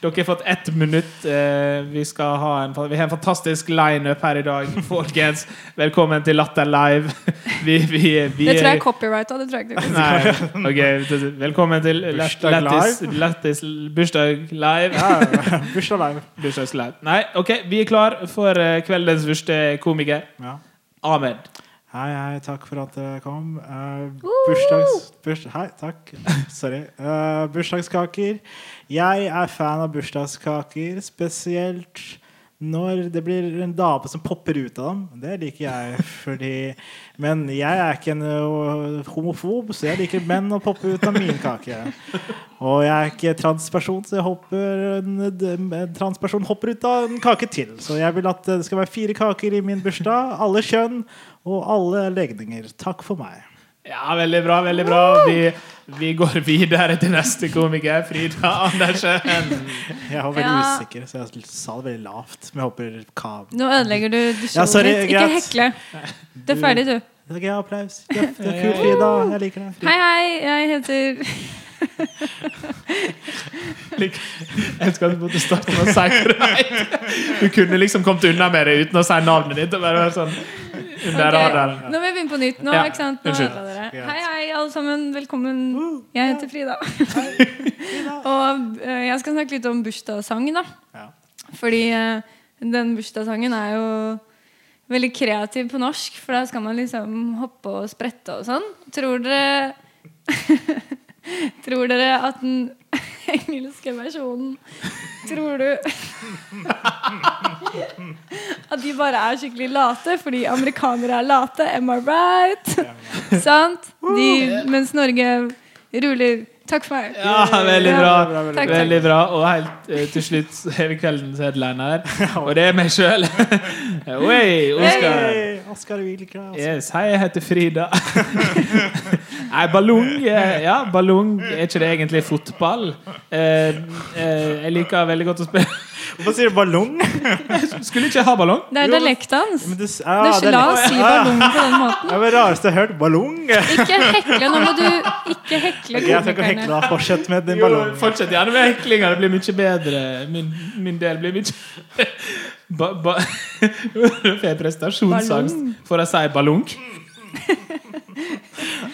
C: Dere har fått ett minutt. Eh, vi, skal ha en, vi har en fantastisk lineup her i dag, folkens. Velkommen til Latter live. Vi, vi, vi
D: Det tror jeg er copyrighta. Det tror jeg ikke.
C: Nei, ok. Velkommen til
B: Bursdag
C: Lættis Lættis bursdag live.
B: Ja, Bursdag live.
C: Bursdagslive. Nei, OK, vi er klar for eh, kveldens første komiker.
B: Ja.
C: Ahmed.
B: Hei, hei, takk for at dere kom. Eh, bursdags... Burs, hei, takk. Sorry. Eh, bursdagskaker. Jeg er fan av bursdagskaker, spesielt når det blir en dame som popper ut av dem. Det liker jeg, fordi Men jeg er ikke en ø, homofob, så jeg liker menn å poppe ut av min kake. Og jeg er ikke transperson, så jeg håper en, en transperson hopper ut av en kake til. Så jeg vil at det skal være fire kaker i min bursdag. Alle kjønn og alle legninger. Takk for meg.
C: Ja, veldig bra. veldig bra Vi, vi går videre til neste komiker, Frida Andersen.
B: Jeg var veldig
D: Ja.
B: usikker, så jeg sa det veldig lavt. Men jeg håper ka-
D: Nå ødelegger du dusjen
B: Ja, sorry,
D: litt. Ikke
B: greit.
D: hekle. Det er ferdig, du.
B: Det er gøy, applaus. Du er du er kul, Frida. Jeg liker deg.
D: Hei, hei. Jeg heter
C: Jeg skal måtte starte med å si greit. Du kunne liksom kommet unna med det uten å si navnet ditt. Og bare være sånn under
D: Ok,
C: radaren.
D: Nå må jeg begynne på nytt. Nå,
C: Ja,
D: ikke sant? Nå
C: unnskyld.
D: ødela dere.
B: Greit.
D: Hei, hei, alle sammen. Velkommen. Jeg heter Frida. Og eh, jeg skal snakke litt om bursdagssang, da.
B: Ja.
D: Fordi eh, den bursdagssangen er jo veldig kreativ på norsk, for da skal man liksom hoppe og sprette og sånn. Tror dere Tror dere at den engelske versjonen Tror du at de bare er skikkelig late fordi amerikanere er late. Am I right? Sant? De, mens Norge ruler. Takk for meg.
C: Ja, veldig bra.
B: Bra, bra, veldig
D: Takk,
C: Veldig
D: takk.
C: bra. Og helt eh, til slutt så er vi kveldens headliner, og det er meg sjøl. Oi, Oskar.
B: Hey, Oskar Wilkra.
C: Yes, hei, jeg heter Frida. Nei, ballong eh, Ja, ballong er ikke det egentlig fotball. Eh, eh, jeg liker veldig godt å spille
B: Hvorfor sier du ballong?
C: Skulle ikke jeg ha ballong.
D: Det er
B: Jo,
D: dialekten hans.
B: Men du, s-
D: Det
B: ja,
D: er ikke
B: det
D: la
B: er
D: oss si
B: Ja.
D: ballong på den måten.
B: det var det rareste jeg har hørt. Ballong? Jeg
D: Ikke hekle. Nå må du ikke hekle
B: skal ikke hekle
D: komikerne.
B: deg. Fortsett med din
C: Jo,
B: ballong.
C: fortsett gjerne med heklinga. Det blir mye bedre. Min, min del blir mye ba, ba, Får jeg prestasjonsangst for å si ballong?
B: Det er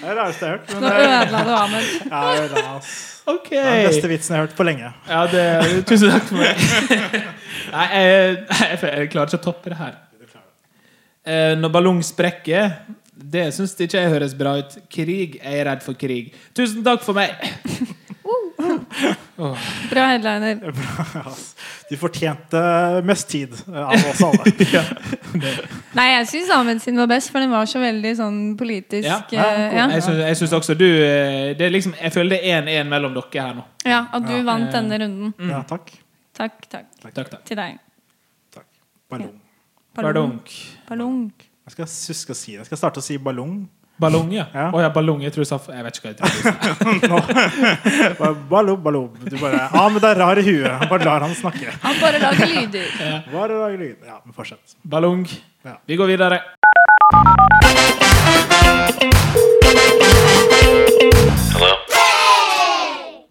B: det rareste jeg har hørt.
D: Nå ødela du Ahmed.
B: Ja, det er altså. det, ass.
C: OK.
B: Det er den beste vitsen jeg har hørt på lenge.
C: Ja, det, tusen takk for meg. Nei, jeg, jeg, jeg klarer ikke å toppe det her. Eh, Når ballong sprekker, det syns ikke jeg høres bra ut. Krig, jeg er redd for krig. Tusen takk for meg.
D: Bra headliner.
B: Ass. Du fortjente mest tid av oss alle.
D: Nei, jeg syns Ahmed sin var best, for den var så veldig sånn politisk
C: Ja.
D: eh, Ja,
C: Jeg syns, jeg syns også du eh, det er liksom, Jeg føler det er 1-1 mellom dere her nå.
D: ja at du vant denne runden.
B: Ja, takk.
D: Takk, takk
C: Takk, takk.
D: til deg.
B: takk. Ballong.
C: Ballong.
D: Ballong.
B: Jeg skal huske å si det. Jeg skal starte å si ballong.
C: Ballong, ja. Å
B: Ja.
C: ja, ballong. Jeg tror jeg sa f- Jeg vet ikke hva jeg tror.
B: Bare Ballong, ballong. Du bare Ja, men det er rar i huet. Bare lar han snakke.
D: Han bare lager lyder.
B: Bare rar i lyd. Ja, men fortsett.
C: Ballong.
B: Ja.
C: Vi går videre.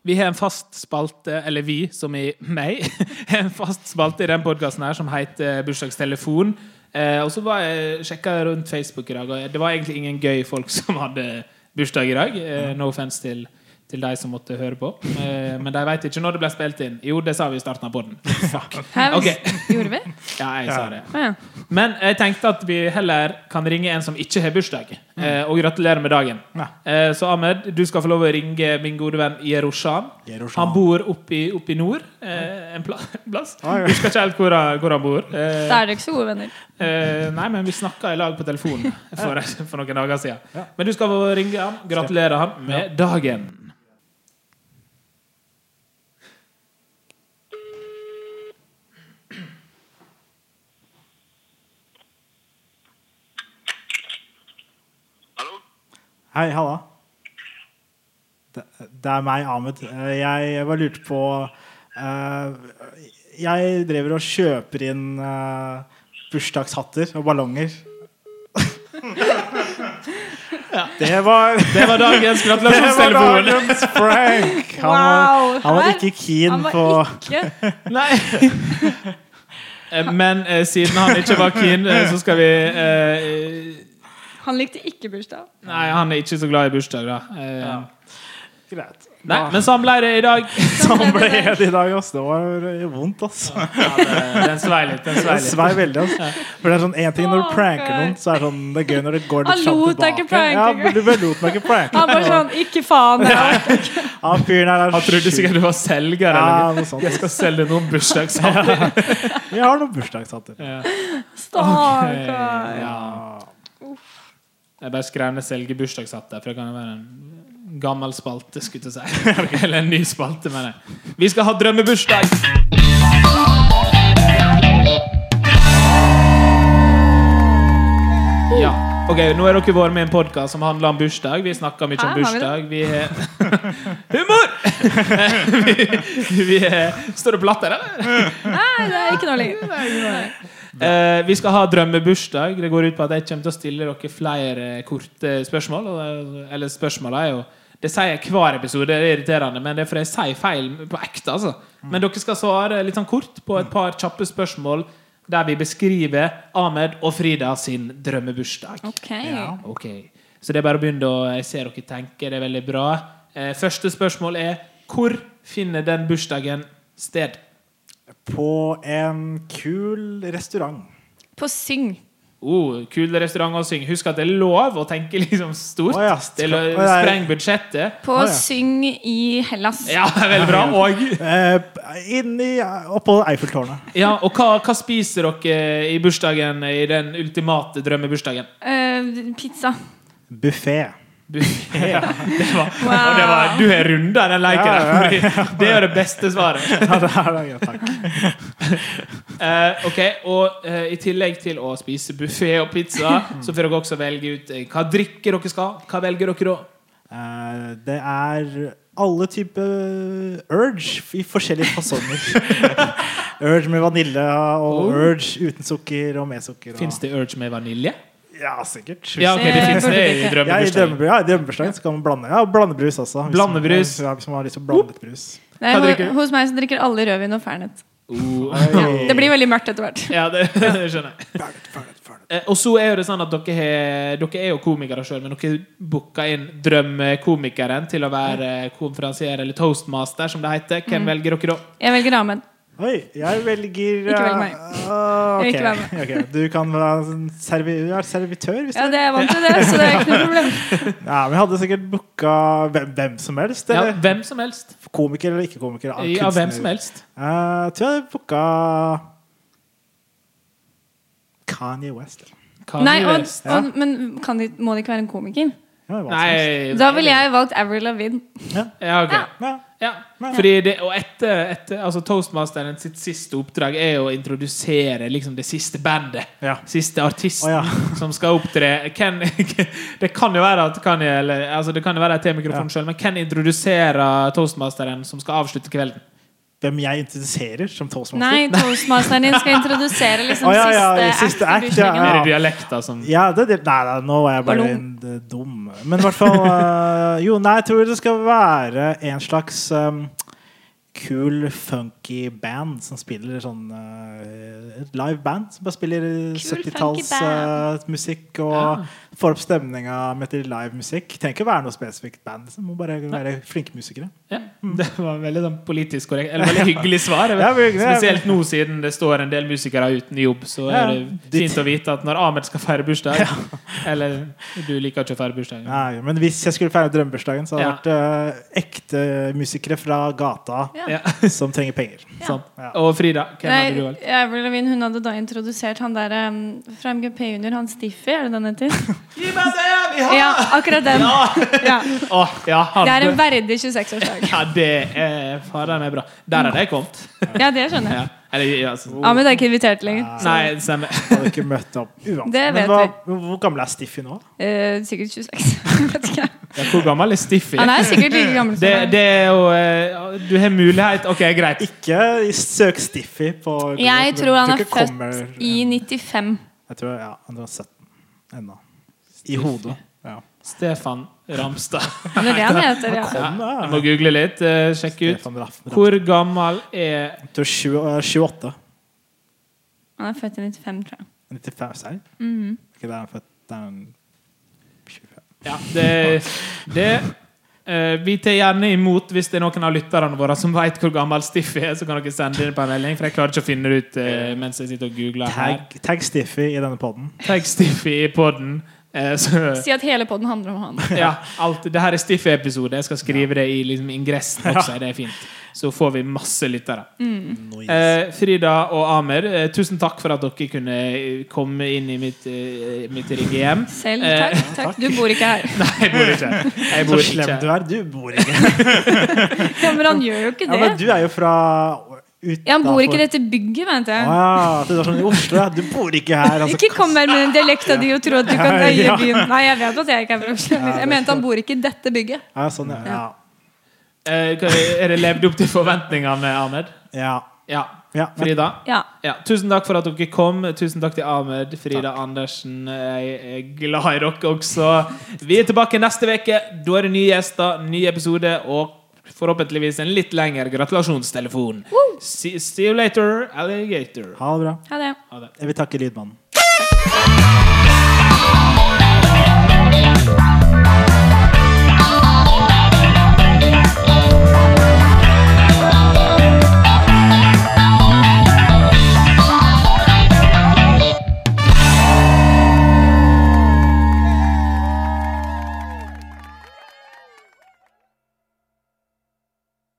C: Vi har en fast spalte, eller vi, som i meg, har en fast spalte i den podkasten her som heter Bursdagstelefon. Eh, og så var jeg sjekka rundt Facebook i dag, og det var egentlig ingen gøy folk som hadde bursdag i dag. Eh, no offense til, til de som måtte høre på. Eh, men de veit ikke når det ble spilt inn. Jo, det sa vi i starten av podden. Fuck.
D: Hæ, hvis-
C: Ok.
D: Gjorde vi?
C: Ja, jeg sa det.
D: Å, ja.
C: Men jeg tenkte at vi heller kan ringe en som ikke har bursdag, eh, og gratulere med dagen.
B: Mm. Ja.
C: Eh, så Ahmed, du skal få lov å ringe min gode venn Jerushan.
B: Jerushan.
C: Han bor oppe i, oppe i nord eh, en pla- plass.
B: Ah, Ja, ja.
C: Jeg husker ikke helt hvor han, hvor han bor. Eh,
D: Da er dere ikke så gode venner.
C: eh, nei, men vi snakka i lag på telefonen for, for noen dager siden. Men du skal få ringe han, gratulere han med dagen.
B: Hei, halla. Det, det er meg, Ahmed. Eh, Jeg, jeg bare lurte på eh, Jeg driver og kjøper inn eh, bursdagshatter og ballonger. Det var
C: Det var dagens
B: det var
C: gratulasjonstelefon!
B: dagens Frank! Han var,
D: Wow,
B: han var
D: her-
B: ikke keen
D: Han var
B: på
D: ikke
C: Nei. Eh, Men eh, siden han ikke var keen, eh, så skal vi eh,
D: Han likte ikke bursdag.
C: Nei, han er ikke så glad i bursdag, da. Eh,
B: Greit.
C: Nei, men sånn ble det i dag.
B: Sånn ble det i dag, ass. Det var eh, vondt, ass.
C: Den svei litt. Den svei
B: Det
C: litt.
B: svei veldig, ass. For det er sånn en ting når du
D: Å,
B: pranker
D: Gud.
B: noen, så er det sånn Det er gøy når det går litt
D: Han
B: fram
D: lot deg
B: tilbake.
D: ikke pranke,
B: Ja,
D: Gud.
B: men du bare lot meg ikke pranke.
D: Han bare sånn Ikke faen. Jeg
B: Han fyren her er
C: Han trodde
B: sjuk.
C: sikkert du var selger.
B: Ja,
C: Eller
B: noe
C: noe. Jeg
B: sånt.
C: skal selge noen bursdagshatter.
B: Vi har noen bursdagshatter.
D: Stakkar.
C: Ja. Jeg bare skrev ned 'selge bursdagshatter', for det kan jo være en gammel spalte. skulle jeg til å si Eller en ny spalte, mener jeg. Vi skal ha drømmebursdag! Ja. Ok, Nå har dere vært med i en podkast som handler om bursdag. Vi snakker mye om
D: Hæ, har vi det?
C: bursdag. Vi har Humor! vi, vi har- Står det på latter, eller?
D: Nei, det er ikke noe lenger. Nei.
C: Eh, vi skal ha drømmebursdag. Det går ut på at jeg kommer til å stille dere flere korte spørsmål. og- Eller spørsmål er jo Det sier jeg hver episode, det er irriterende, men det er fordi jeg sier feil på ekte. Altså. Men dere skal svare litt sånn kort på et par kjappe spørsmål der vi beskriver Ahmed og Frida sin drømmebursdag.
D: Ok.
C: Ok. Så det er bare å begynne å Jeg ser dere tenker, det er veldig bra. Eh, første spørsmål er hvor finner den bursdagen sted?
B: På en kul restaurant.
D: På syng.
C: oh, kul restaurant å synge. Husk at det er lov å tenke liksom stort.
B: Å ja,
C: det er lo-
B: skal- å ja.
C: Spreng budsjettet.
D: På
B: Ah, ja.
D: syng i Hellas.
C: Ja, veldig bra. Og,
B: Eh, inni Oppå Eiffeltårnet.
C: ja, og hva, hva spiser dere eh, i bursdagen, i den ultimate drømmebursdagen?
D: Eh, pizza.
B: Buffé.
C: Buffet. Det var,
D: Wow.
C: og det
D: Ah.
C: var, du har runda den leken
B: Ja,
C: der. fordi Det er det beste svaret.
B: Ja, det er det. Ja, takk.
C: Eh, ok, og eh, I tillegg til å spise buffé og pizza, så får dere også velge ut eh, hva drikker dere skal. Hva velger dere da?
B: Eh, det er alle typer urge i forskjellige fasonger. urge med vanilje og
C: Oh.
B: urge uten sukker og med sukker. og-
C: Fins det Urge med vanilje?
B: Ja, sikkert.
C: Ja, ok, det
D: Eh,
C: finnes det i
D: burde drikke.
B: Ja, I
C: drømmebursdagen.
B: drømmebursdagen ja, i drømmebursdagen så kan man blande ja, blandebrus også. Hvis
C: Blandebrus.
B: Man, ja, hvis man har lyst til å blande litt brus.
D: Nei,
C: Hva
D: ho-
C: drikker du?
D: hos meg så drikker alle rødvin og fernet.
C: Oh.
D: Ja, det blir veldig mørkt etter hvert.
C: Ja, det, det skjønner jeg. Eh, Og så er jo det sånn at dere, har- dere er jo komikere sjøl, men dere booka inn drømmekomikeren til å være eh, konferansier, eller toastmaster, som det heter. Hvem velger dere da?
D: Jeg velger Ahmed.
B: Oi, jeg velger
D: Ikke velg meg.
B: eh, ok.
D: Ikke velg
B: Ok, Du kan være en servi du er servitør, hvis
D: Ja,
B: du
D: det er jeg vant til det, så det er ikke noe problem.
B: ja, men Jeg hadde sikkert booka hvem, hvem som helst.
C: Ja,
B: Eller
C: hvem som helst.
B: komiker eller ikke komiker. ah,
C: Ja, hvem
B: kunstner.
C: som helst.
B: Eh, jeg tror jeg hadde booka Kanye West.
C: Kanye
D: Nei, og,
C: West.
D: og, men kan de, må det ikke være en komiker?
B: Ja, hva som helst.
C: Nei
D: Da ville jeg valgt Avril Lavigne.
C: Ja, ok.
D: Ja.
B: Ja.
C: Ja. Fordi det, og etter, etter altså Toastmasteren sitt siste oppdrag er jo å introdusere liksom det siste bandet.
B: Ja.
C: Siste artisten
B: Å, ja.
C: som skal opptre. Hvem- det kan jo være at Kanye eller, altså Det kan jo være at jeg har mikrofonen selv, men hvem introduserer toastmasteren som skal avslutte kvelden?
B: hvem jeg introduserer som toastmaster.
D: Nei, toastmasteren din skal introdusere liksom
B: Å, ja, ja,
D: siste,
B: siste
D: act.
B: act, ja,
C: Mer
B: ja.
C: dialekter som
B: Ja, det, det, nei, nei, nå var jeg bare en,
D: Ballong.
B: eh, dum. Men i hvert fall eh, Jo, nei, jeg tror det skal være en slags um, kul, funky band som spiller sånn eh, Et live band som bare spiller
D: Kul,
B: 70-talls
D: funky band.
B: eh, musikk og får opp stemninga med til live musikk. Trenger ikke være noe spesifikt band. Det må bare være flinke musikere.
C: ja, Det var veldig sånn politisk korrekt. Eller veldig hyggelig svar.
B: Ja, men hyggelig, ja.
C: Spesielt nå siden det står en del musikere uten jobb, så
B: Ja,
C: er det
B: de-
C: fint å vite at når Ahmed skal feire bursdag Eller du liker ikke å feire bursdag.
B: Nei, men hvis jeg skulle feire drømmebursdagen, så hadde
C: Ja.
B: det vært eh, ekte musikere fra gata
D: Ja.
C: Ja,
B: som trenger penger.
C: sant.
B: Ja.
C: Og Frida, hvem
D: Nei,
C: hadde du valgt?
D: Avril Lavigne, hun hadde da introdusert han der um, fra MGP Junior, han Stiffy, er det den heter? Ja, akkurat den. Ja.
C: Åh, ja, han.
D: Det er en verdig 26-årsdag.
C: Ja, det er Faderen er bra. Der hadde jeg kommet.
D: Ja, det skjønner jeg.
C: Ja. Eller, ja, altså.
D: Ahmed er ikke invitert lenger.
C: Nei, stemmer.
B: Hadde ikke møtt opp uansett.
D: Det
B: Men
D: vet
B: hva, hvor gammel er Stiffy nå?
D: Eh, sikkert 26. Jeg vet ikke.
C: Ja, Hvor gammel er Stiffy?
D: Han er sikkert like gammel som
C: Det,
D: meg.
C: det er jo eh, Du har mulighet OK, greit.
B: Ikke søk Stiffy på
D: Jeg
B: Google,
D: tror han er
B: ikke kommer-
D: født i 95.
B: Jeg tror ja, han var 17 ennå. I hodet. Ja.
C: Stefan Ramstad.
D: Det er det han heter, ja.
B: Kom, da.
C: Jeg må google litt. eh, sjekke ut.
B: Stefan Raff- Raff-
C: Hvor gammel er
B: Jeg tror eh, 20 og- 28.
D: Han er født i 95, tror jeg.
B: 95, serr?
D: Mhm.
B: Ikke det er han født det er han 25.
C: Ja, det, det eh, Vi tar gjerne imot hvis det er noen av lytterne våre som vet hvor gammel Stiffy er, så kan dere sende det inn på en melding, for jeg klarer ikke å finne det ut eh, mens jeg sitter og googler her.
B: Tag, tag Stiffy i denne poden.
C: Tagg Stiffy i poden. så
D: Si at hele podden handler om han.
C: Ja, alt, det her er Stiffy-episode. Jeg skal skrive det i liksom, ingressen også. Det er fint. Så får vi masse lyttere. Eh, Frida og Amer, eh, tusen takk for at dere kunne eh, komme inn i mitt, eh, mitt ring-EM.
D: Selv
C: Eh,
D: takk. takk. Du bor ikke her.
C: Nei, jeg bor ikke. Jeg
B: Så
C: bor
B: slem du
C: ikke.
B: er. Du bor ikke
D: Ja, men han gjør jo ikke
B: ja, Men
D: det.
B: du er jo fra ut-
D: Ja, han bor ikke i
B: utenfor-
D: dette bygget, mente jeg.
B: Ah, at du er sånn i Oslo, ja. Du bor ikke her. altså.
D: Ikke kom her med den dialekta di og tro at du kan
B: Ja,
D: eie
B: ja.
D: byen. Nei, jeg vet at jeg ikke er fra Oslo. Jeg mente han bor ikke i dette bygget.
B: Ja, sånn, ja. ja.
C: Eh, hva- er det levd opp til forventningene, Ahmed?
B: ja.
C: Ja.
B: ja. men-
C: Frida?
D: Ja.
C: Ja, tusen takk for at dere kom. Tusen takk til Ahmed, Frida Andersen. Jeg er glad i dere også. Vi er tilbake neste uke. Da er det nye gjester, ny episode og forhåpentligvis en litt lengre gratulasjonstelefon. See, see you later, alligator.
B: Ha det bra.
D: Ha det.
C: Ha det.
B: Jeg vil takke lydmannen.